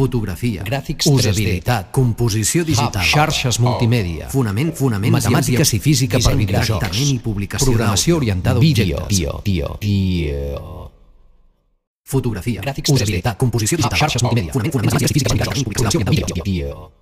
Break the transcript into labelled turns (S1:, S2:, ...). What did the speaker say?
S1: fotografia,
S2: Gràfics 3D,
S1: usabilitat, composició digital, Oh.
S2: Hub, xarxes multimèdia,
S1: fonament, fonament,
S2: matemàtiques i física per
S1: disseny,
S2: videojocs,
S1: tractament i publicació
S2: programació
S1: d'àudio,
S2: orientada a
S1: vídeo,
S2: objectes,
S1: bio, fotografia,
S2: Gràfics 3D,
S1: usabilitat, composició digital,
S2: xarxes multimèdia,
S1: fonament, fonament, matemàtiques i física per videojocs, publicació d'àudio,
S2: vídeo,